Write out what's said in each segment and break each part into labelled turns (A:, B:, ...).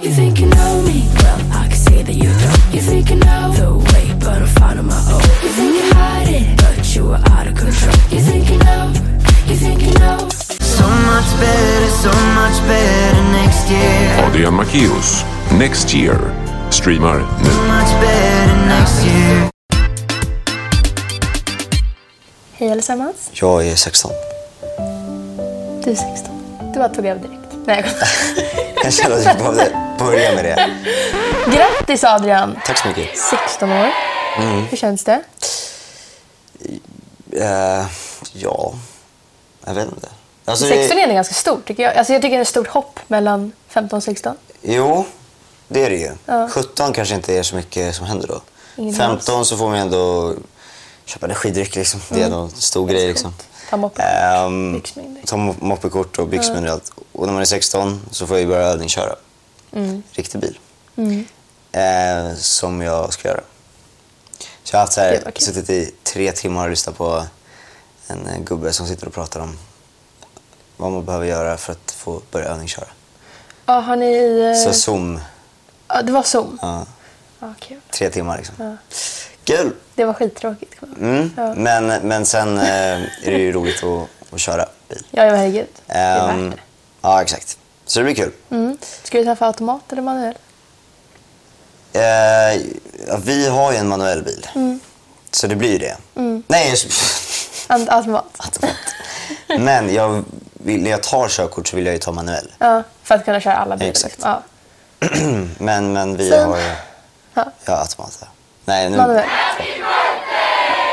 A: You think you know me? Well, I can see that you don't. You think you know the way, but I'm finding my own. You think you hide it, but you are out of control. You think you know? You think you know?
B: So much better, so much better next year.
C: Adrian Macchius, Next Year, streamar nu.
B: So much better next year.
D: Hej allesammans.
E: Jag är 16.
D: Du är 16. Du bara tog över direkt. Nej, jag skämtar.
E: Jag känner att jag behövde börja med det.
D: Grattis Adrian!
E: Tack så mycket.
D: 16 år.
E: Mm.
D: Hur känns det?
E: Eh, ja, jag vet inte. Alltså,
D: 16
E: det,
D: är ändå ganska stort tycker jag. Alltså, jag tycker det är ett stort hopp mellan 15 och 16.
E: Jo, det är det ju. 17 kanske inte är så mycket som händer då.
D: Ingen
E: 15 så får man ändå köpa energidryck. Liksom. Det är ändå en stor grej. Liksom.
D: Ta moppe.
E: Ehm,
D: Byxmyndig.
E: ta mo- moppekort och byxmyndig och allt. Och när man är 16 så får jag ju börja övningsköra.
D: Mm.
E: Riktig bil. Eh, som jag ska göra. Så jag har haft så
D: Gud,
E: här,
D: vad kul.
E: suttit i tre timmar och lyssnat på en eh, gubbe som sitter och pratar om vad man behöver göra för att få börja övningsköra.
D: Ja, har ni i...
E: Så
D: eh,
E: Zoom,
D: Ja, det var Zoom?
E: ja,
D: Ja, kul.
E: tre timmar liksom. Kul!
D: Det var skittråkigt. kommer jag ihåg.
E: Mm.
D: Ja.
E: Men, men sen eh, är det ju roligt att, att köra bil.
D: Ja, ja, herregud. Det är
E: Ehm,
D: värt det.
E: Ja, exakt. Så det blir kul.
D: Mm. Ska du träffa automat eller manuell?
E: Eh, ja, vi har ju en manuell bil.
D: Mm.
E: Så det blir ju det. Nej, jag...
D: An- Automat?
E: men jag vill, när jag tar körkort så vill jag ju ta manuell.
D: Ja, för att kunna köra alla bilar.
E: Exakt.
D: liksom. Ja.
E: Men, men vi
D: Sen-
E: har ju...
D: Ja.
E: Ja, automat. ja. Nej, nu...
D: Manuell.
E: Mm.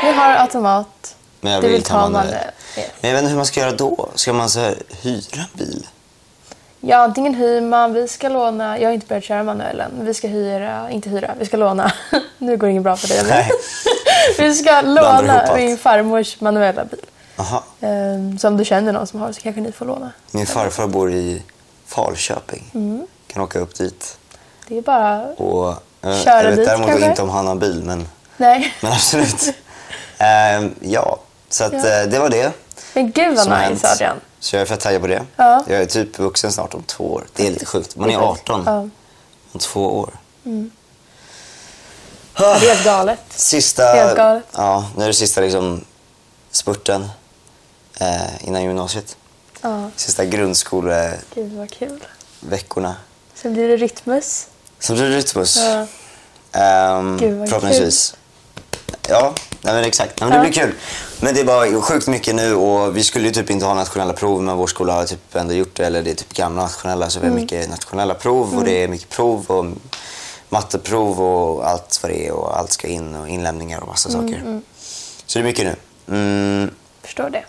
D: Vi har automat.
E: Men jag
D: Du
E: vill,
D: vill
E: ta
D: ta
E: manuell.
D: manuell. Yes.
E: Men jag vet inte hur man ska göra då. Ska man så här, hyra en bil?
D: Mm. Ja, antingen hyr man, vi ska låna. Jag har inte börjat köra manuellen. men Vi ska hyra, inte hyra, vi ska låna. Nu går det inget bra för dig. men-
E: Nej.
D: Vi ska
E: Blandar ihop
D: låna
E: allt.
D: min farmors manuella bil.
E: Jaha.
D: Ehm, Så om du känner någon som har så kanske ni får låna.
E: Min farfar bor i Falköping.
D: Mm.
E: Kan åka upp dit.
D: Det är bara...
E: Och, eh,
D: Köra
E: jag vet
D: dit,
E: däremot
D: kanske?
E: inte om han har bil, men,
D: Nej.
E: men absolut. Ehm, ja, så att,
D: Ja.
E: eh, det var det.
D: Men gud vad
E: som har
D: nice
E: hänt.
D: Adrian.
E: Så jag är fett taggad på det.
D: Ja.
E: Jag är typ vuxen snart om två år. Det är lite sjukt. Man är
D: Exakt.
E: 18
D: Ja.
E: om två år.
D: Det är helt galet.
E: Sista,
D: Helt galet.
E: ja, nu är det sista liksom, spurten eh, innan gymnasiet.
D: Ja,
E: Sista grundskoleveckorna.
D: gud vad kul. Sen blir det Rytmus.
E: Som blir det Rytmus.
D: Ja.
E: Ehm,
D: Gud, vad
E: förhoppningsvis. Ja, nej, men exakt. Nej, men det
D: Ja.
E: blir kul. Men det är bara sjukt mycket nu och vi skulle ju typ inte ha nationella prov men vår skola har typ ändå gjort det. Eller det är typ gamla nationella så vi har
D: Mm.
E: mycket nationella prov och det är mycket prov och matteprov och allt vad det är och allt ska in och inlämningar och
D: Mm,
E: massa saker. Så det är mycket nu. Mm,
D: Förstår det.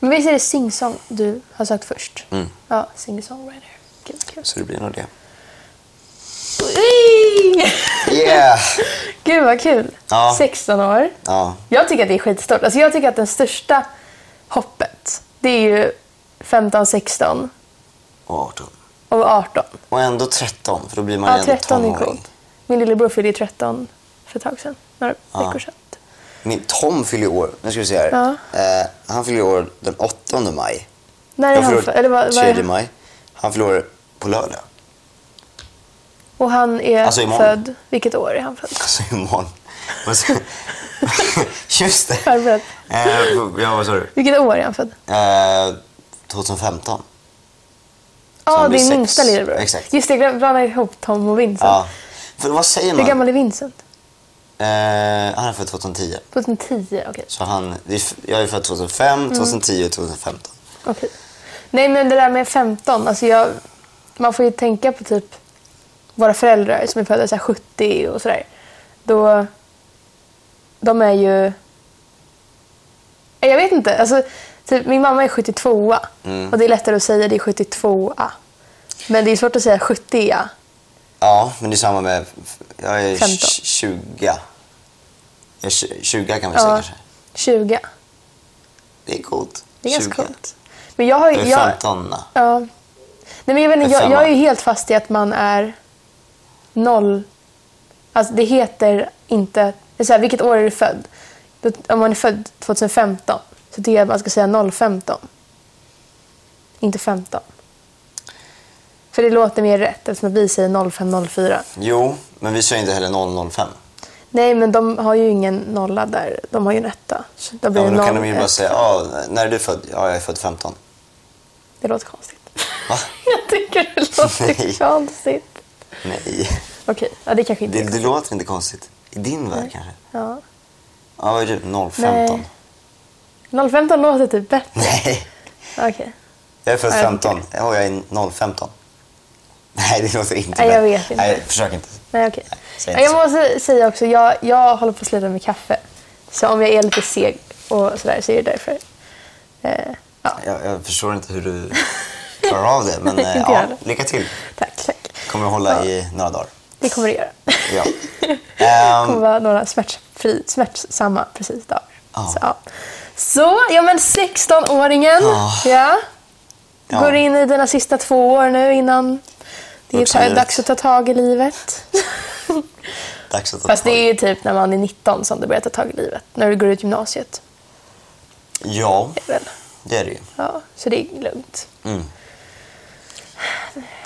D: Men visst är det singsong du har sökt först?
E: Mm.
D: Ja, singer-songwriter. Gud vad kul.
E: så det blir nog det.
D: Ui!
E: Yeah!
D: Gud vad kul.
E: Ja.
D: 16 år.
E: Ja,
D: Jag tycker att det är skitstort. Alltså jag tycker att det största hoppet, det är ju 15, 16
E: och 18.
D: och 18.
E: Och ändå 13 för då blir man
D: Ja,
E: ju ändå
D: 13
E: tonåring.
D: är coolt. Min lillebror fyllde ju 13 för ett tag sedan. Några veckor sedan.
E: Min Tom fyller ju år, nu ska vi se här. Eh, han fyller ju år den 8 maj.
D: När är
E: jag
D: han
E: fyller
D: för, eller vad, vad är
E: 3
D: han?
E: maj. Han fyller år på lördag.
D: Och han är
E: Alltså, imorgon.
D: född... Vilket år är han född?
E: Alltså imorgon. Vad sa- Just det.
D: Förberedd.
E: Eh, ja, vad sa du?
D: Vilket år är han född?
E: Eh, 2015.
D: Ja,
E: han
D: det
E: blir
D: är
E: sex.
D: minsta lillebror.
E: Exakt.
D: Just det, jag blandade ihop Tom och Vincent.
E: Ja. För vad säger
D: Hur
E: man?
D: gammal är Vincent?
E: Eh, han är född 2010.
D: 2010, okej.
E: Så han, det är f- jag är född 2005,
D: Mm.
E: 2010 och 2015.
D: Okej. Nej, men det där med 15. Alltså jag, man får ju tänka på typ våra föräldrar som är födda så här 70 och sådär. Då... De är ju... Nej, Jag vet inte. Alltså, typ, min mamma är 72 och det är lättare att säga det är 72 Men det är svårt att säga 70
E: Ja, men det är samma med... Jag är
D: 15.
E: 20. Jag är 20 kan vi säga
D: ja,
E: kanske.
D: 20.
E: Det är coolt.
D: Det är
E: 20.
D: ganska coolt. Men jag har ju...
E: Jag är
D: jag-
E: 15. na.
D: Ja. Nej, men jag, vet inte,
E: För
D: jag,
E: femman.
D: jag är ju helt fast i att man är noll. Alltså det heter inte... Det är så här, vilket år är du född? Då- Om man är född 2015 så tycker jag att man ska säga 015. Inte 15. För det låter mer rätt eftersom att vi säger 0504.
E: Jo, men vi säger inte heller 005.
D: Nej, men de har ju ingen nolla där. De har ju en etta. Så då blir
E: Ja, men
D: det
E: då kan
D: 01.
E: de ju bara säga, ja, när är du född? Ja, jag är född 15.
D: Det låter konstigt.
E: Va?
D: Jag tycker det
E: Nej.
D: låter konstigt.
E: Nej,
D: Okej, ja, det kanske inte
E: det,
D: är
E: det låter inte konstigt. I din värld kanske?
D: Ja.
E: Ja, vad är du? 015?
D: 015 låter typ bättre.
E: Nej,
D: Okej.
E: jag är född
D: Ja, jag
E: 15. Ja, jag är 015. Nej, det låter inte
D: Nej, jag
E: bra.
D: vet inte.
E: Nej, försök inte.
D: Nej, okej.
E: säg
D: Ja,
E: inte
D: Jag måste säga också, jag, jag håller på att sluta med kaffe. Så om jag är lite seg och sådär så är det därför. Eh, ja,
E: Jag, jag förstår inte hur du klarar av det, men eh,
D: Inte
E: ja,
D: jag heller.
E: lycka till.
D: tack, tack.
E: Kommer att hålla i några dagar.
D: Det kommer det göra.
E: Ja.
D: Det kommer
E: Ehm,
D: vara några smärtfri, smärtsamma precis dagar.
E: Ja.
D: Så, ja. så, ja men 16-åringen.
E: Ja.
D: Ja.
E: Ja.
D: Går in i dina sista två år nu innan det är
E: Vuxenlivet.
D: dags att ta tag i livet.
E: dags att ta
D: Fast det
E: tag.
D: är ju typ när man är 19 som du börjar ta tag i livet. När du går ut gymnasiet.
E: Ja,
D: Väl?
E: det är det ju.
D: Ja, så det är lugnt.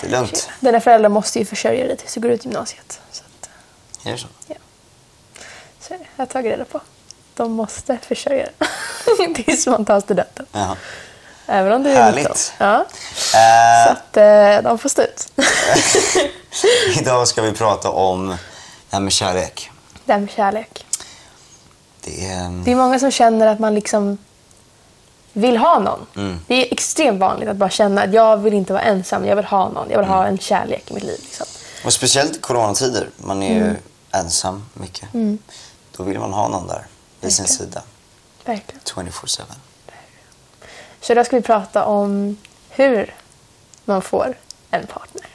E: Det är lugnt.
D: Dina föräldrar måste ju försörja dig tills du går ut gymnasiet. Så, att,
E: Är det så?
D: så är det. jag har tagit reda på. De måste försörja dig tills man tar studenten.
E: Jaha.
D: Även om du är
E: Härligt.
D: 19. Ja.
E: Ehm,
D: Så att eh, de får stå ut.
E: Idag ska vi prata om det här med kärlek.
D: Det här med kärlek.
E: Det är, ehm,
D: Det är många som känner att man liksom vill ha någon. Det är extremt vanligt att bara känna att jag vill inte vara ensam, jag vill ha någon. Jag vill ha en kärlek i mitt liv. Liksom.
E: och speciellt i coronatider. Man är
D: Mm.
E: ju ensam mycket. Då vill man ha någon där vid sin sida.
D: Verkligen.
E: 24-7.
D: Så idag ska vi prata om hur man får en partner.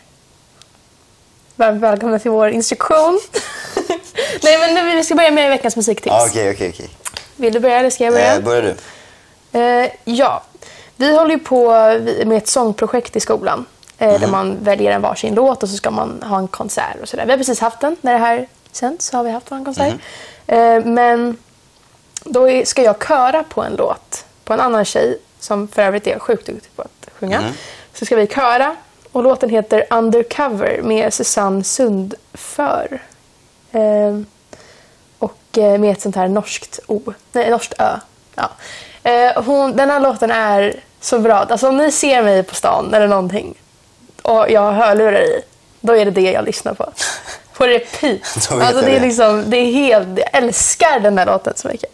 D: Varmt välkomna till vår instruktion. Nej, men nu, vi ska börja med veckans musiktips.
E: Ja, Ah, Okej, okej, okej.
D: Vill du börja eller ska jag börja?
E: Eh, Börjar du?
D: Eh, ja, vi håller ju på med ett sångprojekt i skolan. Eh,
E: Mhm.
D: Där man väljer en varsin låt och så ska man ha en konsert och sådär. Vi har precis haft den. När det här sänds så har vi haft vår konsert.
E: Mhm.
D: Eh, men då är- ska jag köra på en låt på en annan tjej som för övrigt är sjukt duktig på att sjunga.
E: Mm.
D: Så ska vi köra och låten heter Undercover med Susanne Sundför. Eh, och eh, med ett sånt här norskt O. Nej, norskt Ö. Ja. Eh, hon, den här låten är så bra. Alltså om ni ser mig på stan eller någonting och jag har hörlurar i, då är det det jag lyssnar på. På repeat.
E: Då vet
D: alltså,
E: jag
D: det, är
E: det.
D: liksom, det är helt, jag älskar den här låten så mycket.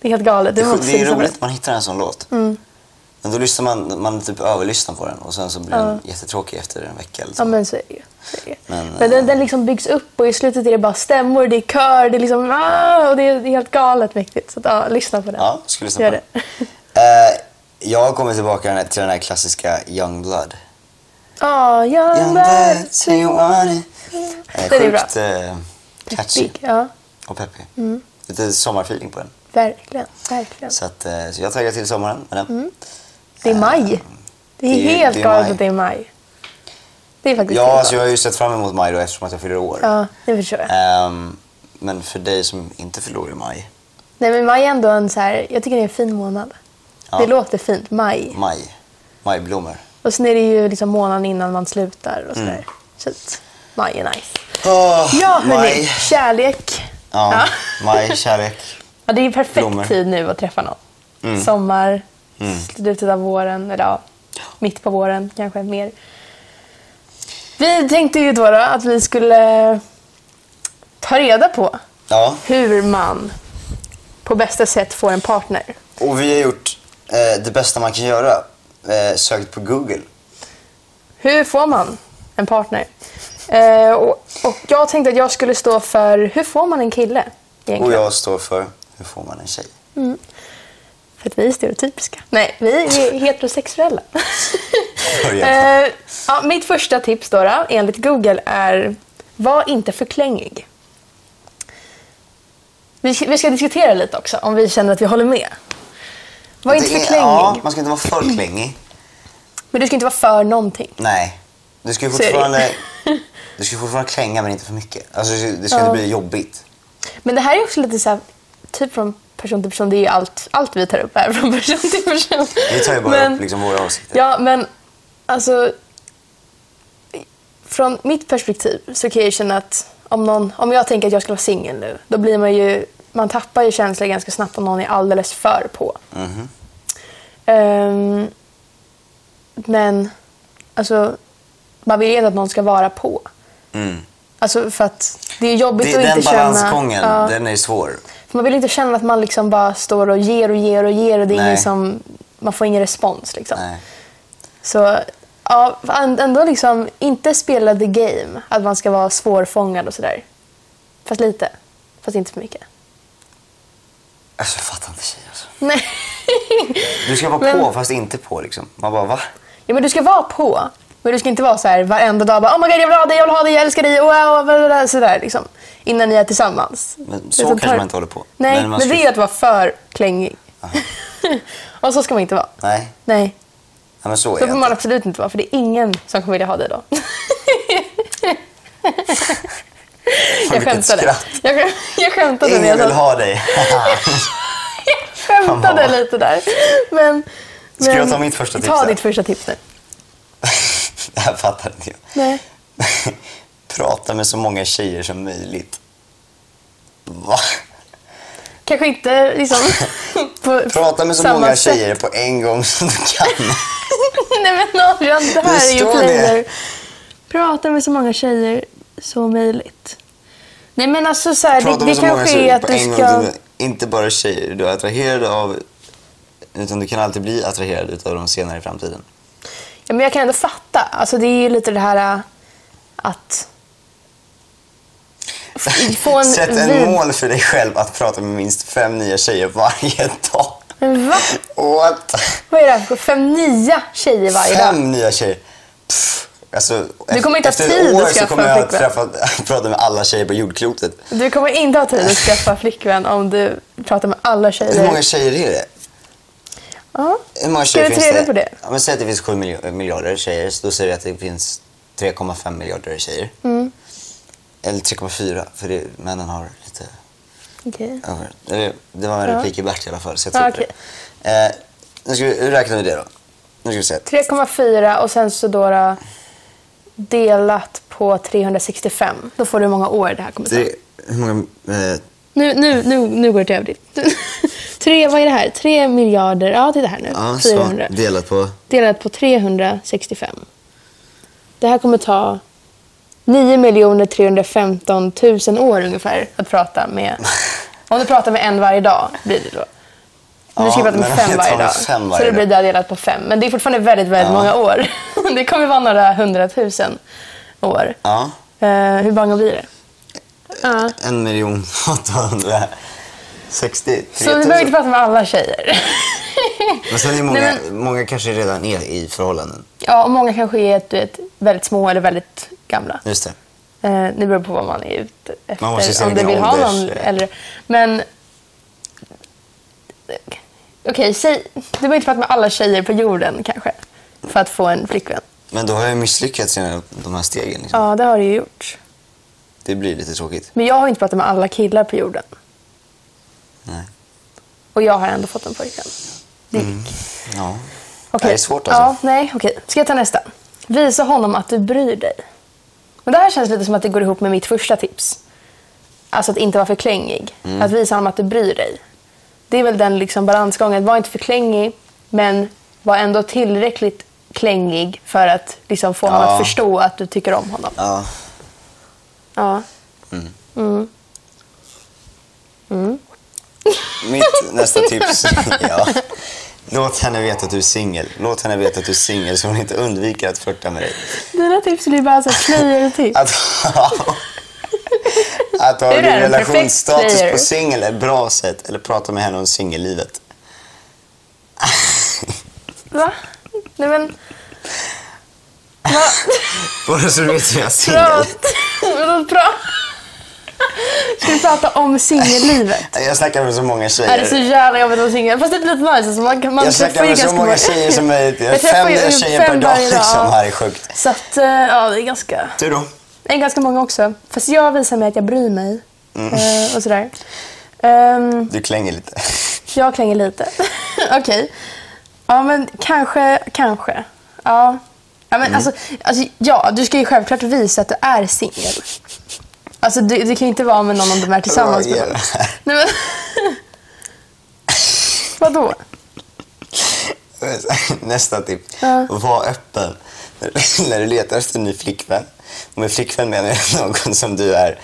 D: Det liksom- är helt galet. Du
E: Det, är sjukt-
D: måste
E: det är
D: lyssna på
E: roligt
D: den.
E: att man hittar en sån låt.
D: Mm.
E: Men då lyssnar man, man typ överlyssnar på den och sen så blir den jättetråkig efter en vecka eller så.
D: Ja, men så är det ju. Så är det. ju.
E: Men, eh,
D: Men, den, den liksom byggs upp och i slutet är det bara stämmor, det är kör, det är liksom ah, och det är, det är helt galet mäktigt. Så att, ja, lyssna på den.
E: Ja, ska lyssna
D: Gör
E: på
D: det.
E: Eh, jag kommer tillbaka den här- till den här klassiska Youngblood.
D: Ja, young blood.
E: Youngblood, say you want it. Eh,
D: Den är bra.
E: Sjukt eh, catchy.
D: Big, ja.
E: och peppig.
D: Mm.
E: Lite sommarfeeling på den.
D: Verkligen, verkligen.
E: Så, att, eh, så jag taggar till sommaren med den.
D: Mm. Det är maj. Det är
E: det är-
D: helt
E: det är
D: galet
E: maj.
D: att det är maj. Det är faktiskt
E: Ja,
D: helt
E: alltså jag
D: galet.
E: har ju sett fram emot maj då eftersom att jag fyller år.
D: Ja, det förstår jag.
E: Ehm, men för dig som inte fyller år i maj,
D: Nej, men maj är ändå en så här, jag tycker det är en fin månad.
E: Ja.
D: Det låter fint, maj.
E: maj, majblommor.
D: Och sen är det ju liksom månaden innan man slutar och sådär. Så att maj är nice.
E: Oh,
D: Ja, hörni.
E: maj.
D: Kärlek.
E: Ja,
D: Ja.
E: maj, kärlek.
D: Ja, det är ju perfekt
E: Blommor.
D: tid nu att träffa någon. Sommar, slutet av våren, eller ja, mitt på våren kanske mer. Vi tänkte ju då, då att vi skulle ta reda på
E: Ja,
D: hur man på bästa sätt får en partner.
E: och vi har gjort eh, det bästa man kan göra. Eh, sökt på Google.
D: Hur får man en partner? Eh, och, och jag tänkte att jag skulle stå för hur får man en kille?
E: Och
D: Egentligen.
E: jag står för Hur får man en tjej?
D: För att vi är stereotypiska. Nej, vi är heterosexuella.
E: Börja.
D: Eh, ja, mitt första tips då, då, enligt Google är var inte förklängig. Vi ska, vi ska diskutera lite också om vi känner att vi håller med. Var inte
E: Det är-
D: förklängig.
E: Ja, man ska inte vara för klängig.
D: Men du ska inte vara för någonting.
E: Nej. Du ska ju
D: Så är det ju.
E: fortfarande, du ska ju fortfarande klänga men inte för mycket. Alltså, det ska- det ska inte bli jobbigt.
D: Men det här är också lite så här, typ från person till person. Det är ju allt, allt vi tar upp här från person till person.
E: Vi tar ju bara liksom,
D: Men-
E: upp liksom våra åsikter.
D: Ja, men alltså... från mitt perspektiv så kan jag ju känna att om, någon, om jag tänker att jag ska vara singel nu, då blir man ju, man tappar ju känslan ganska snabbt om någon är alldeles för på.
E: Mhm.
D: Ehm, men, alltså, man vill ju ändå att någon ska vara på. Alltså för att det är jobbigt
E: Mm. Det,
D: att
E: den
D: inte känna...
E: balansgången,
D: Ja.
E: den är svår.
D: För man vill inte känna att man liksom bara står och ger och ger och ger och det är
E: Nej.
D: ingen som, man får ingen respons. Liksom.
E: Nej.
D: Så ja, än- ändå liksom inte spela the game, att man ska vara svårfångad och sådär. Fast lite, fast inte för mycket.
E: Alltså jag fattar inte tjejer alltså.
D: Nej.
E: Du ska vara
D: Men-
E: på fast inte på liksom. Man bara va?
D: Ja, men du ska vara på, men du ska inte vara så här varenda dag bara oh my god jag vill ha dig, jag vill ha dig, jag älskar dig, wow, blablabla", sådär liksom. Innan ni är tillsammans.
E: Men så
D: Utan
E: kanske
D: tar-
E: man inte håller på.
D: Nej,
E: man
D: men,
E: ska-
D: det är ju att vara för klängig. och så ska man inte vara.
E: Nej,
D: Nej.
E: nej men så är
D: Då
E: det
D: får man
E: inte.
D: absolut inte vara, för det är ingen som kommer vilja ha dig då. jag
E: vilket
D: skämtade.
E: skratt.
D: Jag, skäm- jag skämtade, när
E: Ingen
D: jag
E: vill
D: sa-
E: ha dig.
D: skämtade
E: Mamma.
D: lite där. Men, men,
E: Ska jag ta mitt första tips
D: Ta
E: då?
D: ditt första tips nu.
E: det här fattar inte jag.
D: Nej.
E: Prata med så många tjejer som möjligt. Va?
D: Kanske inte liksom... På
E: Prata med så
D: samma
E: många
D: sätt.
E: tjejer på en gång som du kan.
D: Nej men Adrian, det
E: Det
D: här är ju
E: står det.
D: player. Prata med så många tjejer som möjligt. Nej men alltså så här,
E: Prata
D: det,
E: med
D: det
E: så många
D: kanske
E: tjejer
D: är att
E: på
D: du
E: en gång.
D: ska...
E: som du- Inte bara tjejer du är attraherad av, utan du kan alltid bli attraherad utav dem senare i framtiden.
D: Ja, men jag kan ändå fatta. Alltså, det är ju lite det här äh, att... F- Få en
E: Sätt en
D: vid-
E: mål för dig själv att prata med minst fem nya tjejer varje dag.
D: Men va?
E: What?
D: Vad är det här för fem nya tjejer varje dag?
E: Fem nya tjejer. Pff, alltså,
D: kommer inte ha
E: efter
D: tid
E: ett år
D: att
E: så
D: skaffa
E: kommer
D: en
E: jag att
D: flickvän.
E: träffa, prata med alla tjejer på jordklotet.
D: Du kommer inte ha tid att skaffa flickvän om du pratar med alla
E: Hur många
D: tjejer.
E: tjejer är det?
D: Ja.
E: Hur många
D: Ska
E: tjejer
D: du
E: finns
D: ta reda på det?
E: Ja, men säg att det finns 7 miljo- miljarder tjejer, så då säger vi att det finns 3,5 miljarder tjejer.
D: Mm.
E: Eller 3,4 för det, männen har lite
D: Okej.
E: över. Eller, Det var en
D: Ja.
E: replik i Bert i alla fall, så jag
D: Ja,
E: tror på det. Eh, nu ska vi, hur räknar vi det då? Nu ska vi se.
D: 3,4 och sen så då, då delat på 365. Då får du hur många år det här kommer ta.
E: Det, hur många... Eh,
D: Nu, nu, nu, nu går det till överdrift. Tre, vad är det här? Tre miljarder. Ja, titta här nu.
E: ja, så
D: 400.
E: delat på...
D: delat på 365. Det här kommer ta 9 315 000 år ungefär att prata med. Om du pratar med en varje dag blir det då. Om du ska
E: Ja,
D: prata med
E: men
D: fem
E: jag tar
D: varje
E: med
D: dag.
E: fem
D: så
E: varje
D: det blir det delat på fem. Men det är fortfarande väldigt, väldigt
E: Ja.
D: många år. Det kommer vara några hundratusen år.
E: Ja,
D: Eh, hur många blir det? Ja.
E: en miljon 863
D: Så vi
E: 000.
D: behöver inte prata med alla tjejer.
E: Men sen är många,
D: Nej,
E: många kanske redan är i förhållanden.
D: Ja, och många kanske är du vet, väldigt små eller väldigt gamla.
E: Just det.
D: Eh, det beror på vad man är ute efter.
E: Man måste se
D: om du
E: vilken
D: vill ha
E: ålders- eh.
D: någon äldre. Men... Okej, säg... Du behöver inte prata med alla tjejer på jorden kanske. För att få en flickvän.
E: Men då har jag ju misslyckats i de här stegen. Liksom.
D: Ja, det har du ju gjort.
E: Det blir lite tråkigt.
D: Men jag har inte pratat med alla killar på jorden.
E: Nej.
D: Och jag har ändå fått en pojkvän. Det gick.
E: Ja.
D: Okej.
E: Det är svårt alltså.
D: Ja, nej, okej. Ska jag ta nästa? Visa honom att du bryr dig. Men det här känns lite som att det går ihop med mitt första tips. Alltså att inte vara för klängig.
E: Mm.
D: Att visa honom att du bryr dig. Det är väl den liksom balansgången. Var inte för klängig, men var ändå tillräckligt klängig för att liksom få honom
E: Ja.
D: att förstå att du tycker om honom.
E: Ja.
D: Ja.
E: Mitt nästa tips. ja. Låt henne veta att du är singel. Låt henne veta att du är singel så hon inte undviker att flirta med dig.
D: Dina tips blir bara så här player-tips.
E: Att, att ha
D: Hur är
E: din
D: en perfekt
E: relationsstatus
D: player?
E: på singel är ett bra sätt. Eller prata med henne om singellivet.
D: Va? Nej men... Va?
E: Bara så du vet att jag är singel.
D: Prat. Vadå prat? Ska vi prata om singellivet?
E: Jag snackar med så många
D: Är det är så
E: tjejer.
D: jävla jobbigt att vara singel? Fast det är lite nice. Alltså man kan- man
E: Jag
D: träffar
E: snackar
D: ju
E: med så
D: ganska
E: många tjejer som möjligt. Jag har
D: Jag träffar
E: fem
D: ju
E: nya
D: ungefär
E: tjejer per
D: fem
E: dag
D: varje dag.
E: liksom. Det här är sjukt.
D: Så att, eh, ja det är ganska...
E: Du då?
D: Det är ganska många också. Fast jag visar mig att jag bryr mig.
E: Mm.
D: Eh, och sådär. Ehm,
E: Du klänger lite.
D: jag klänger lite. Okej. Ja men kanske, kanske. Ja. Ja,
E: Mm.
D: men alltså, alltså, ja, du ska ju självklart visa att du är singel. Alltså, du, du kan ju inte vara med någon om de är tillsammans med någon. Nej, men... Vadå?
E: Nästa tips.
D: Ja.
E: Var öppen. När du letar efter en ny flickvän. Och med flickvän menar jag någon som du är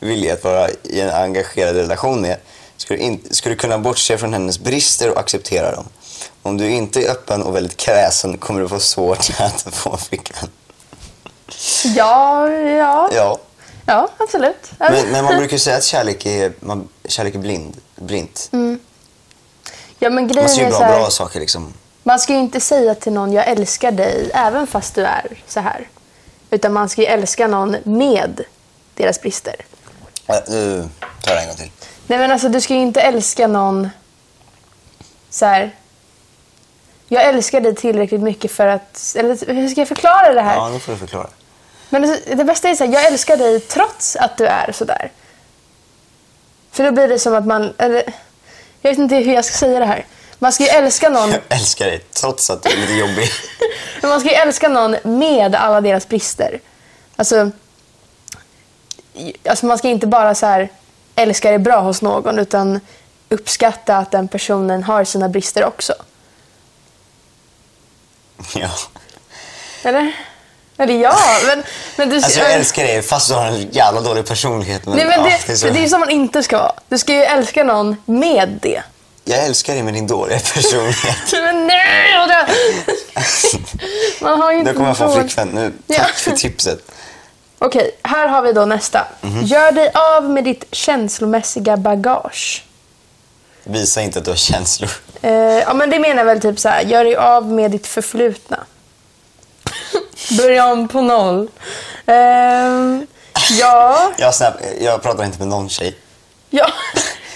E: villig att vara i en engagerad relation med. Ska du, in, ska du kunna bortse från hennes brister och acceptera dem. Om du inte är öppen och väldigt kräsen kommer du få svårt att få en flickvän.
D: Ja, ja,
E: Ja.
D: ja, absolut.
E: Men, men man brukar ju säga att kärlek är, man, kärlek är blind, blint.
D: ja, men
E: Man
D: grejen
E: ser ju
D: är
E: bra,
D: så här,
E: bra saker liksom.
D: man ska ju inte säga till någon jag älskar dig även fast du är så här. Utan man ska ju älska någon med deras brister.
E: Äh, Nu tar jag det en gång till.
D: Nej men alltså du ska ju inte älska någon så här. Jag älskar dig tillräckligt mycket för att... Eller hur ska jag förklara det här?
E: Ja, nu får du förklara.
D: Men alltså, det bästa är så här, jag älskar dig trots att du är sådär. För då blir det som att man... Eller, jag vet inte hur jag ska säga det här. Man ska ju älska någon,
E: Jag älskar dig trots att du är lite jobbig.
D: men man ska ju älska någon med alla deras brister. Alltså, i- alltså man ska inte bara så här, älska det bra hos någon utan uppskatta att den personen har sina brister också.
E: Ja.
D: Eller? Eller ja, men... men du,
E: Alltså jag älskar dig fast du har en jävla dålig personlighet. Men,
D: Nej, men
E: ja,
D: det,
E: är så.
D: det är ju som man inte ska vara. Du ska ju älska någon med det.
E: Jag älskar dig med din dåliga personlighet.
D: Men nej! och det- Man har ju inte
E: Nu kommer jag få en
D: råd.
E: flickvän. Nu,
D: Ja.
E: tack för tipset.
D: Okej, här har vi då nästa.
E: Mhm.
D: Gör dig av med ditt känslomässiga bagage.
E: Visa inte att du har känslor.
D: Eh, ja, men det menar väl typ så här. Gör dig av med ditt förflutna. Börja om på noll. Ehm, ja,
E: Jag, snabb, jag pratar inte med någon tjej.
D: ja.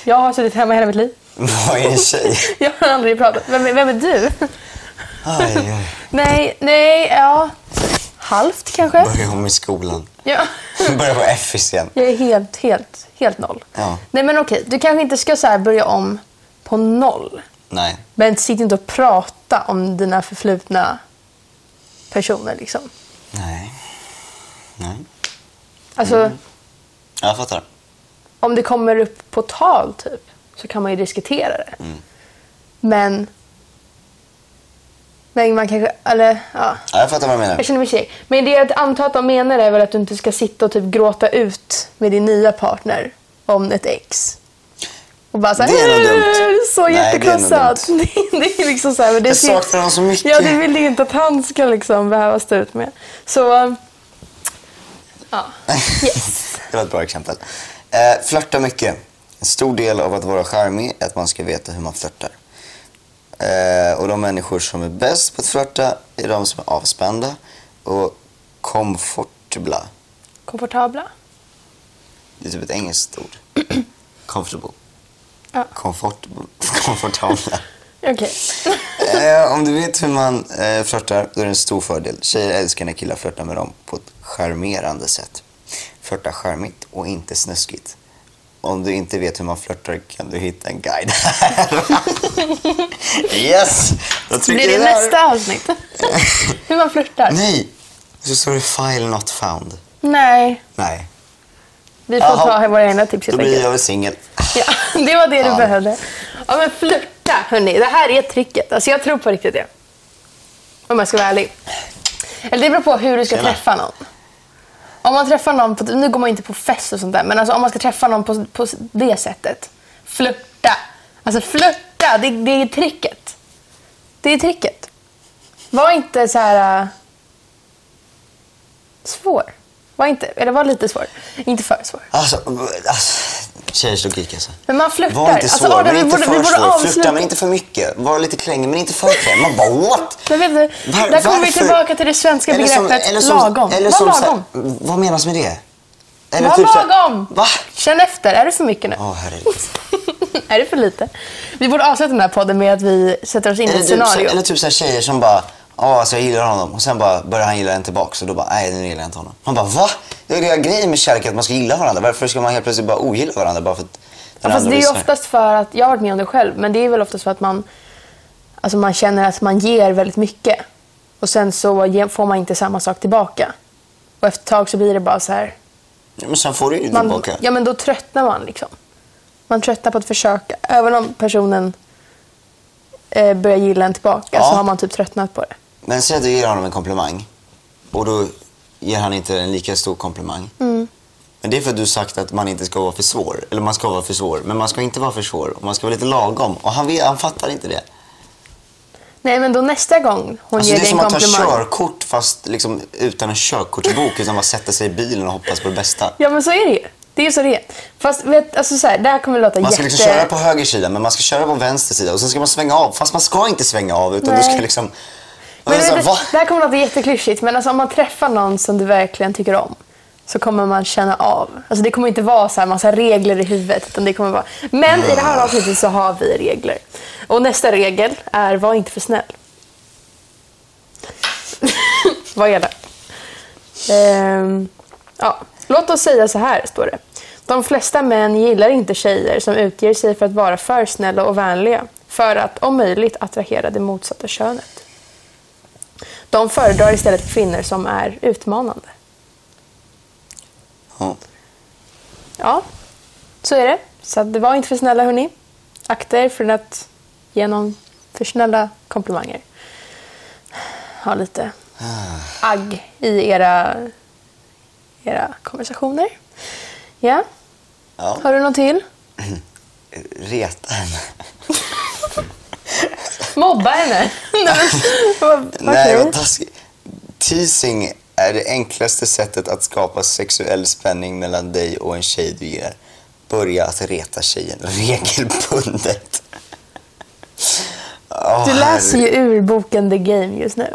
D: Jag har suttit hemma hela mitt liv.
E: Vad är en tjej?
D: Jag har aldrig pratat. Vem, är- vem är du?
E: Aj, aj.
D: Nej, nej, ja. Halvt kanske?
E: Börja om i skolan.
D: Ja.
E: Börja på FIS igen.
D: Jag är helt, helt, helt noll.
E: Ja.
D: Nej men okej, du kanske inte ska så här börja om på noll.
E: Nej.
D: Men sitt inte och prata om dina förflutna personer liksom.
E: Nej. Nej.
D: Alltså,
E: Jag fattar.
D: om det kommer upp på tal typ, så kan man ju diskutera det. Men... Men man kanske, eller ja.
E: Ja, jag fattar vad du menar.
D: Jag känner mig tjej. Men det jag antar att de menar är väl att du inte ska sitta och typ gråta ut med din nya partner om ett ex. Och bara såhär,
E: Det är nog dumt.
D: så
E: Nej, det är nog
D: jättekrossat. Det, det är liksom såhär. men Det
E: Jag
D: ser-
E: saknar honom så mycket.
D: Ja, det vill ju inte att han ska liksom behöva stå ut med. Så, ja. Yes.
E: Det var ett bra exempel. Eh, flörta mycket. En stor del av att vara charmig är att man ska veta hur man flörtar. Eh, och de människor som är bäst på att flörta är de som är avspända och comfortabla.
D: Komfortabla.
E: Det är typ ett engelskt ord. Comfortable.
D: Ja.
E: Comfortable. Komfortabla.
D: Okej.
E: eh, om du vet hur man eh, flörtar, då är det en stor fördel. Tjejer älskar när killar flörtar med dem på ett charmerande sätt. Flörta charmigt och inte snuskigt. Om du inte vet hur man flörtar kan du hitta en guide här. yes! Då
D: Blir
E: trycker
D: det
E: jag där.
D: nästa avsnitt? Hur man flörtar?
E: Nej! Så står det file not found.
D: Nej.
E: Nej.
D: Vi får
E: Jaha.
D: ta våra egna tips
E: Då
D: helt
E: blir
D: enkelt.
E: jag väl singel.
D: Ja, det var det du
E: Ja.
D: behövde. Ja, men flörta, hörni. Det här är tricket. Alltså, jag tror på riktigt det. Om jag ska vara ärlig. Eller det beror på hur du ska
E: Tjena.
D: träffa någon. Om man träffar någon, på, nu går man ju inte på fest och sånt där, men alltså, om man ska träffa någon på, på det sättet. Flörta. Alltså flörta, det, det är tricket. Det är tricket. Var inte så här... äh, svår. Var inte, eller var lite svår. Inte för svår.
E: Alltså, alltså, tjejers logik alltså.
D: Men man flörtar.
E: Var inte svår,
D: alltså, Adam,
E: men
D: vi
E: inte
D: borde-
E: för
D: vi borde
E: svår. Flörta,
D: avsluta.
E: men inte för mycket. Var lite klängig, men inte för klängig. Man bara what?
D: Men vet du,
E: Var-
D: där kommer vi
E: varför?
D: tillbaka till det svenska
E: Eller som-
D: begreppet
E: eller som-
D: lagom.
E: Eller
D: Var
E: som, så här,
D: lagom.
E: vad menas med det? Eller
D: Var
E: typ så här-
D: lagom!
E: Va?
D: Känn efter, är det för mycket nu?
E: Ja, herregud.
D: är det för lite? Vi borde avsluta den här podden med att vi sätter oss in i
E: Eller
D: ett
E: typ, så,
D: scenario.
E: eller typ så här tjejer som bara, ja alltså jag gillar honom. Och sen bara börjar han gilla en tillbaks och då bara, nej nu gillar jag inte honom. Man bara, va? Det är ju hela grejen med kärlek, att man ska gilla varandra. Varför ska man helt plötsligt bara ogilla varandra bara för att den
D: Fast
E: andra
D: det är ju
E: lyssnar?
D: oftast för att, jag har varit med om det själv, men det är väl oftast för att man, alltså man känner att man ger väldigt mycket. Och sen så ge- får man inte samma sak tillbaka. Och efter ett tag så blir det bara så här.
E: Ja, men sen får du ju
D: Man,
E: tillbaka.
D: Ja, men då tröttnar man liksom. Man tröttnar på att försöka. Även om personen eh, börjar gilla en tillbaka
E: Ja.
D: så har man typ tröttnat på det.
E: Men säg att du ger honom en komplimang och då ger han inte en lika stor komplimang.
D: Mm.
E: Men det är för att du sagt att man inte ska vara för svår. Eller man ska vara för svår, men man ska inte vara för svår. Och man ska vara lite lagom. Och han, vet, han fattar inte det.
D: Nej, men då nästa gång hon
E: Alltså,
D: ger
E: det är
D: dig en
E: som att ta
D: komplimang.
E: körkort fast liksom, utan en körkortsbok. Utan bara sätta sig i bilen och hoppas på det bästa.
D: Ja, men så är det ju. Det är ju så det är. Fast vet, alltså så här, det här kommer låta
E: Man
D: jätte...
E: ska liksom köra på höger sida men man ska köra på vänster sida och sen ska man svänga av. Fast man ska inte svänga av utan
D: Nej.
E: du ska liksom...
D: Men
E: Alltså,
D: det,
E: va?
D: det här kommer låta jätteklyschigt, men alltså, om man träffar någon som du verkligen tycker om så kommer man känna av. Alltså, det kommer inte vara så här massa regler i huvudet. Utan det kommer vara... Men i det här avsnittet så har vi regler. Och nästa regel är var inte för snäll. Vad är det? Ehm, ja. Låt oss säga så här, står det. De flesta män gillar inte tjejer som utger sig för att vara för snälla och vänliga för att om möjligt attrahera det motsatta könet. De föredrar istället kvinnor som är utmanande.
E: Ja.
D: Ja, så är det. Så att det var inte för snälla, hörni. Akta er för att ge någon för snälla komplimanger. Ha lite agg i era, era konversationer. Ja,
E: Ja.
D: har du någon till?
E: Reta henne.
D: Mobba henne! Nej, men, vad-
E: Nej,
D: okej.
E: vad taskigt. Teasing är det enklaste sättet att skapa sexuell spänning mellan dig och en tjej du gillar. Börja att reta tjejen regelbundet. Åh,
D: Du läser
E: herre-
D: ju ur boken The Game just nu.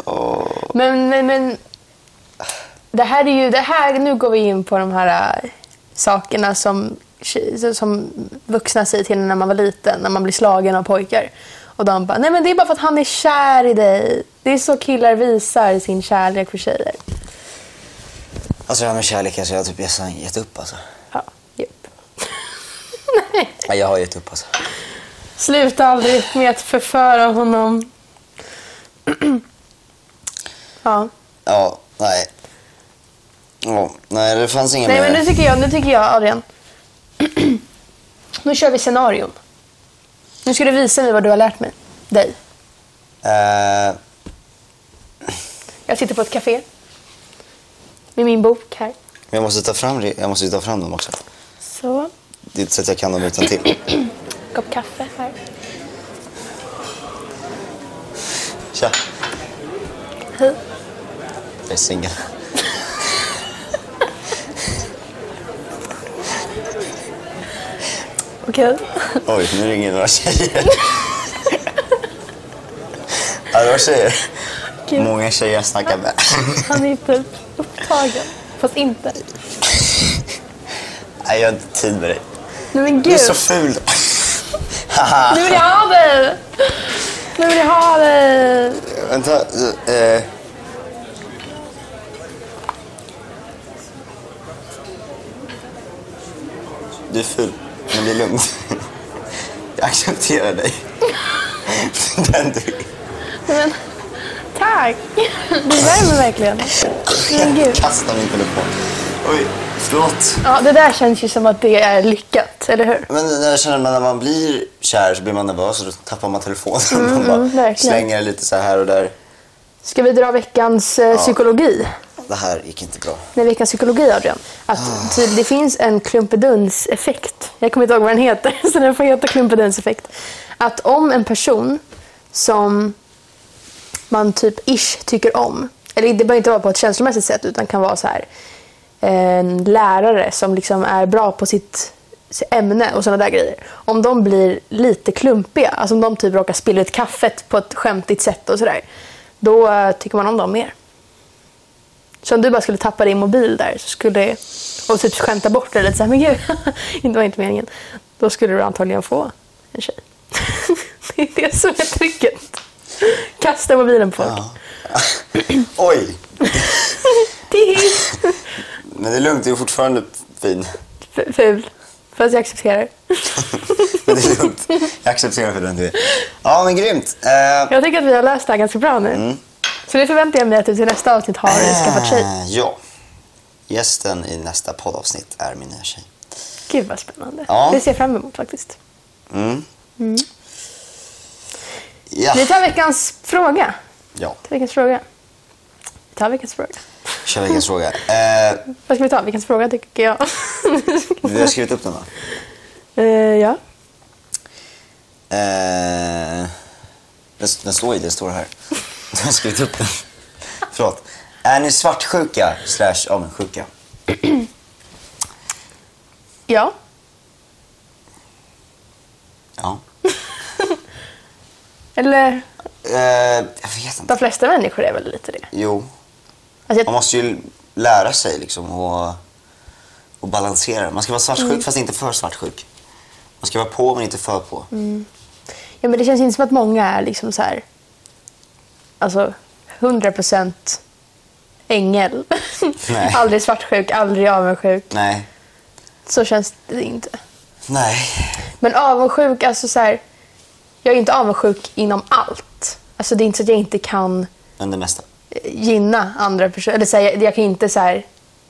D: Men, men, men... Det här är ju... Det här, nu går vi in på de här äh, sakerna som, tje- som vuxna säger till en när man var liten, när man blir slagen av pojkar. Och de bara, nej men det är bara för att han är kär i dig. Det är så killar visar sin kärlek för tjejer.
E: Alltså det här med kärlek, alltså, jag har typ jag har gett upp alltså.
D: Ja, japp.
E: Ja, Jag har gett upp alltså.
D: Sluta aldrig med att förföra honom. ja.
E: Ja, nej. Ja, nej, det fanns inga
D: Nej, men
E: mer.
D: nu tycker jag, nu tycker jag Adrian. nu kör vi scenarion. Nu ska du visa mig vad du har lärt mig. Dig.
E: Eh,
D: Jag sitter på ett café. Med min bok här.
E: men jag måste ta fram, re- jag måste ju ta fram dem också.
D: Så.
E: Det är inte så att jag kan dem utan till.
D: Kopp kaffe här.
E: Tja,
D: Hej.
E: jag är singel.
D: Okej.
E: Oj, nu ringer några tjejer. ja, det var tjejer.
D: Gud.
E: Många tjejer jag snackar med.
D: Han är typ upptagen. Fast inte.
E: Nej, jag har inte tid med dig.
D: Nej men
E: Du är
D: gud.
E: så ful.
D: Nu vill jag ha dig! Nu vill jag ha dig!
E: Vänta. Eh. Du är ful, men det är lugnt. Jag accepterar dig. Den du är.
D: Nej, men, tack! Du värmer verkligen. Nej, Men gud.
E: Kasta min telefon. Oj, förlåt.
D: Ja, det där känns ju som att det är lyckat, eller hur?
E: Men jag känner att när man blir kär så blir man nervös och då tappar man telefonen. man bara
D: mm, verkligen.
E: slänger den lite så här och där.
D: Ska vi dra veckans eh, psykologi?
E: Det här gick inte bra.
D: Nej, veckans psykologi, Adrian. Att typ, det finns en klumpeduns-effekt. Jag kommer inte ihåg vad den heter, så den får heta klumpeduns-effekt. Att om en person som man typ ish tycker om, eller det behöver inte vara på ett känslomässigt sätt, utan kan vara så här en lärare som liksom är bra på sitt sitt ämne och sådana där grejer. Om de blir lite klumpiga, alltså om de typ råkar spilla ut kaffet på ett skämtigt sätt och sådär, då eh, tycker man om dem mer. Så om du bara skulle tappa din mobil där så skulle, och typ skämta bort det lite såhär, men gud, det var inte meningen. Då skulle du antagligen få en tjej. det är det som är tricket. Kasta mobilen på folk.
E: Oj!
D: Det är
E: Men det är lugnt, du är fortfarande fin.
D: f- ful. Fast jag accepterar.
E: Men det är lugnt. Jag accepterar för den du är. Ja, men grymt. Eh,
D: Jag tycker att vi har löst det här ganska bra nu. Så det förväntar jag mig att du till nästa avsnitt har skaffat tjej.
E: Eh, Ja. Gästen i nästa poddavsnitt är min nya tjej.
D: Gud vad spännande.
E: Ja.
D: Det ser jag fram emot faktiskt.
E: Mm.
D: Mm.
E: Ja.
D: Vi tar veckans fråga.
E: ja.
D: Ta veckans fråga. Vi tar veckans fråga.
E: Kör veckans fråga. Eh,
D: Vad ska vi ta? Veckans fråga tycker jag.
E: vi har skrivit upp den va?
D: Eh, ja.
E: Eh, den, den står i, den står här. Du har skrivit upp den. Förlåt. Är ni svartsjuka slash avundsjuka?
D: Ja.
E: Ja.
D: Eller
E: Eh, jag vet
D: de
E: inte.
D: flesta människor är väl lite det.
E: Jo.
D: Alltså, jag,
E: Man måste ju lära sig liksom och, och balansera. Man ska vara svartsjuk fast inte för svartsjuk. Man ska vara på men inte för på.
D: ja, men det känns inte som att många är liksom så här... Alltså, 100 procent ängel.
E: Nej.
D: aldrig svartsjuk, aldrig avundsjuk.
E: Nej.
D: Så känns det inte.
E: Nej.
D: Men avundsjuk, alltså så här... Jag är inte avundsjuk inom allt. Alltså det är inte så att jag inte kan eh,
E: Men det mesta.
D: gynna andra personer. Eller så här, jag, jag kan inte så här,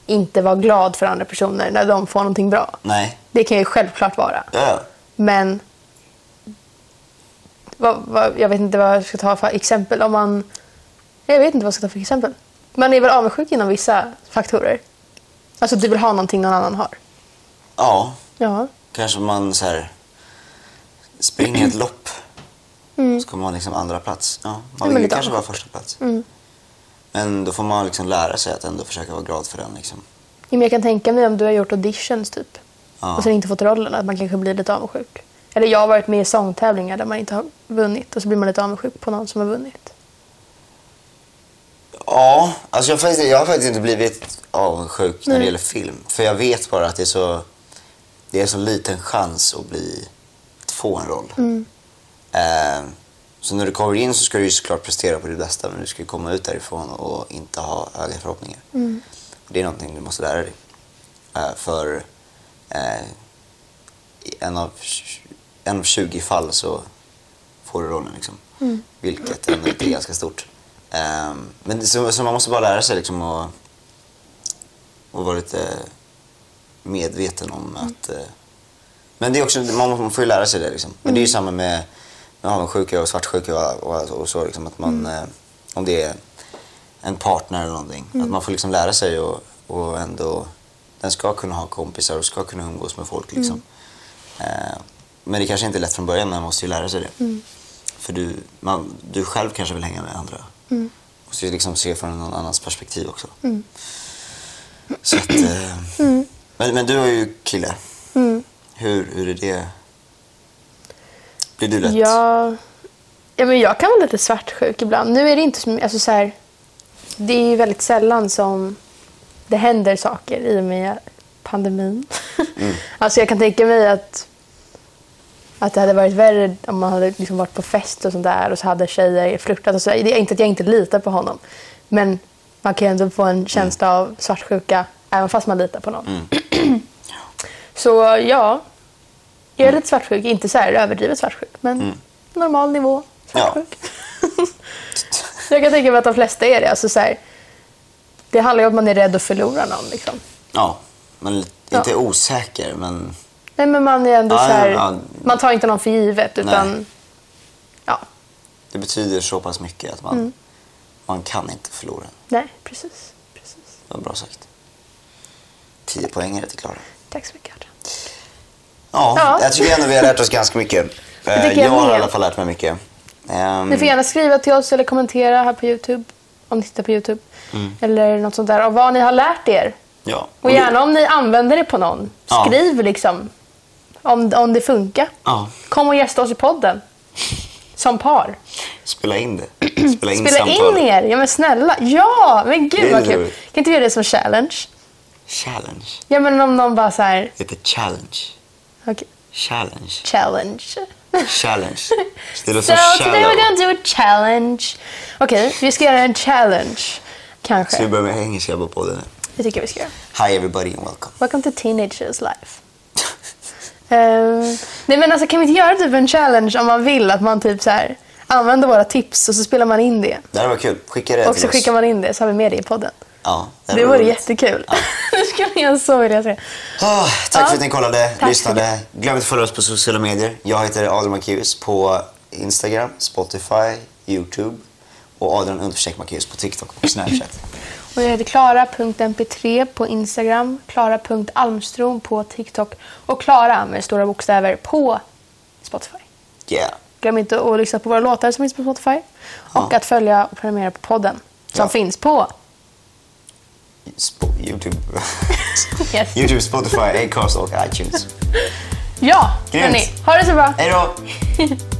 D: inte vara glad för andra personer när de får någonting bra.
E: Nej.
D: Det kan jag ju självklart vara.
E: Ja, ja.
D: Men vad, vad, jag vet inte vad jag ska ta för exempel. Om man, jag vet inte vad jag ska ta för exempel. Man är väl avundsjuk inom vissa faktorer. Alltså du vill ha någonting någon annan har.
E: Ja.
D: Ja.
E: Kanske man så här springer ett lopp. Så kommer man liksom andra plats. Ja,
D: Mm. men
E: man vill
D: lite Mm.
E: kanske vara
D: avundsjuk.
E: första plats. Men då får man liksom lära sig att ändå försöka vara glad för den. Liksom.
D: Men jag kan tänka mig om du har gjort auditions typ.
E: Ja.
D: Och sen inte fått rollen, att man kanske blir lite avundsjuk. Eller jag har varit med i sångtävlingar där man inte har vunnit och så blir man lite avundsjuk på någon som har vunnit.
E: Ja, alltså jag, har faktiskt, jag har faktiskt inte blivit avundsjuk när det gäller film. För jag vet bara att det är så, det är så liten chans att, bli, att få en roll. Eh, så när du kommer in så ska du ju såklart prestera på ditt bästa men du ska ju komma ut därifrån och inte ha höga förhoppningar. Det är någonting du måste lära dig. Eh, för eh, i en, av, tj- en av 20 fall så får du rollen. Liksom. Vilket ändå inte är ganska stort. Ehm, men det- så, så man måste bara lära sig liksom att och vara lite medveten om att... eh, Men det är också, man, man får ju lära sig det. Liksom. Men det är ju samma med, med avundsjuka och svartsjuka och, och, och så. Liksom, att man, eh, om det är en partner eller någonting. Att man får liksom lära sig och, och ändå... Den ska kunna ha kompisar och ska kunna umgås med folk. Liksom. Eh, Men det kanske inte är lätt från början, men man måste ju lära sig det. För du, man, du själv kanske vill hänga med andra. Mm. Måste ju liksom se från någon annans perspektiv också. Så att, eh, men, men du har ju kille. Hur, hur är det? Blir du lätt?
D: Ja, ja men jag kan vara lite svartsjuk ibland. Nu är det inte som, alltså så här, det är ju väldigt sällan som det händer saker i och med pandemin. alltså jag kan tänka mig att, att det hade varit värre om man hade liksom varit på fest och sånt där och så hade tjejer flörtat och så. där. Det är inte att jag inte litar på honom. Men man kan ju ändå få en känsla
E: Mm.
D: av svartsjuka även fast man litar på någon. så ja, jag är
E: Mm.
D: lite svartsjuk. Inte så här överdrivet svartsjuk, men normal nivå svartsjuk. jag kan tänka mig att de flesta är det. Alltså, så här, det handlar ju om att man är rädd att förlora någon. Liksom.
E: Ja, men inte
D: Ja.
E: osäker, men
D: Nej, men man är ändå
E: Ja,
D: så här,
E: ja.
D: man tar inte någon för givet.
E: Nej.
D: Utan, ja,
E: det betyder så pass mycket att man,
D: Mm.
E: man kan inte förlora.
D: nej, precis. precis.
E: Det var bra sagt. 10 poängare till Klara.
D: Tack så mycket, Adrian.
E: Ja,
D: Ja.
E: jag tycker ändå vi har lärt oss ganska mycket. Eh,
D: tycker
E: jag
D: jag
E: har i
D: med.
E: alla fall lärt mig mycket. Ehm,
D: Ni får gärna skriva till oss eller kommentera här på Youtube. Om ni tittar på Youtube.
E: Mm.
D: Eller något sånt där. Och vad ni har lärt er.
E: ja.
D: Och gärna om ni använder det på någon.
E: Ja.
D: Skriv liksom. Om, om det funkar.
E: Ja,
D: Kom och gästa oss i podden. Som par.
E: spela in det. Spela in
D: Spela in
E: samtalet.
D: er! Ja men snälla. Ja! Men
E: Det är
D: gud vad kul.
E: roligt.
D: Kan inte vi göra det som challenge?
E: Challenge.
D: Ja men om någon bara så här...
E: Det heter challenge.
D: okej,
E: Challenge.
D: challenge.
E: Challenge. Det
D: So
E: låter som
D: today we're
E: challenge.
D: gonna do a challenge. Okej, vi ska göra en challenge.
E: Ska vi
D: Kanske.
E: börja med engelska på podden nu?
D: Det tycker jag vi ska göra.
E: Hi everybody and welcome.
D: Welcome to teenagers life. Ehm, nej men alltså kan vi inte göra typ en challenge om man vill att man typ så här använder våra tips och så spelar man in det.
E: Det här var kul. Skicka det
D: Och
E: till
D: så
E: oss.
D: skickar man in det så har vi med det i podden.
E: Ja,
D: Det vore
E: roligt.
D: jättekul. Nu ska ni göra en så vill jag säga.
E: Ah, tack
D: Ja.
E: för att ni kollade,
D: Tack
E: lyssnade. Glöm inte att följa oss på sociala medier. Jag heter Adrian Marcus på Instagram, Spotify, Youtube och Adrian understreck Marcus på TikTok och Snapchat.
D: Och jag heter klara.mp3 på Instagram, klara.almstrom på TikTok och Klara med stora bokstäver på Spotify.
E: Yeah.
D: Glöm inte att lyssna på våra låtar som finns på Spotify och
E: Ja.
D: att följa och prenumerera på podden som
E: Ja.
D: finns på
E: Sp- Youtube.
D: Yes.
E: Youtube, Spotify, Acast och iTunes.
D: Ja,
E: Grymt.
D: hörni. Ha det så bra.
E: Hej då!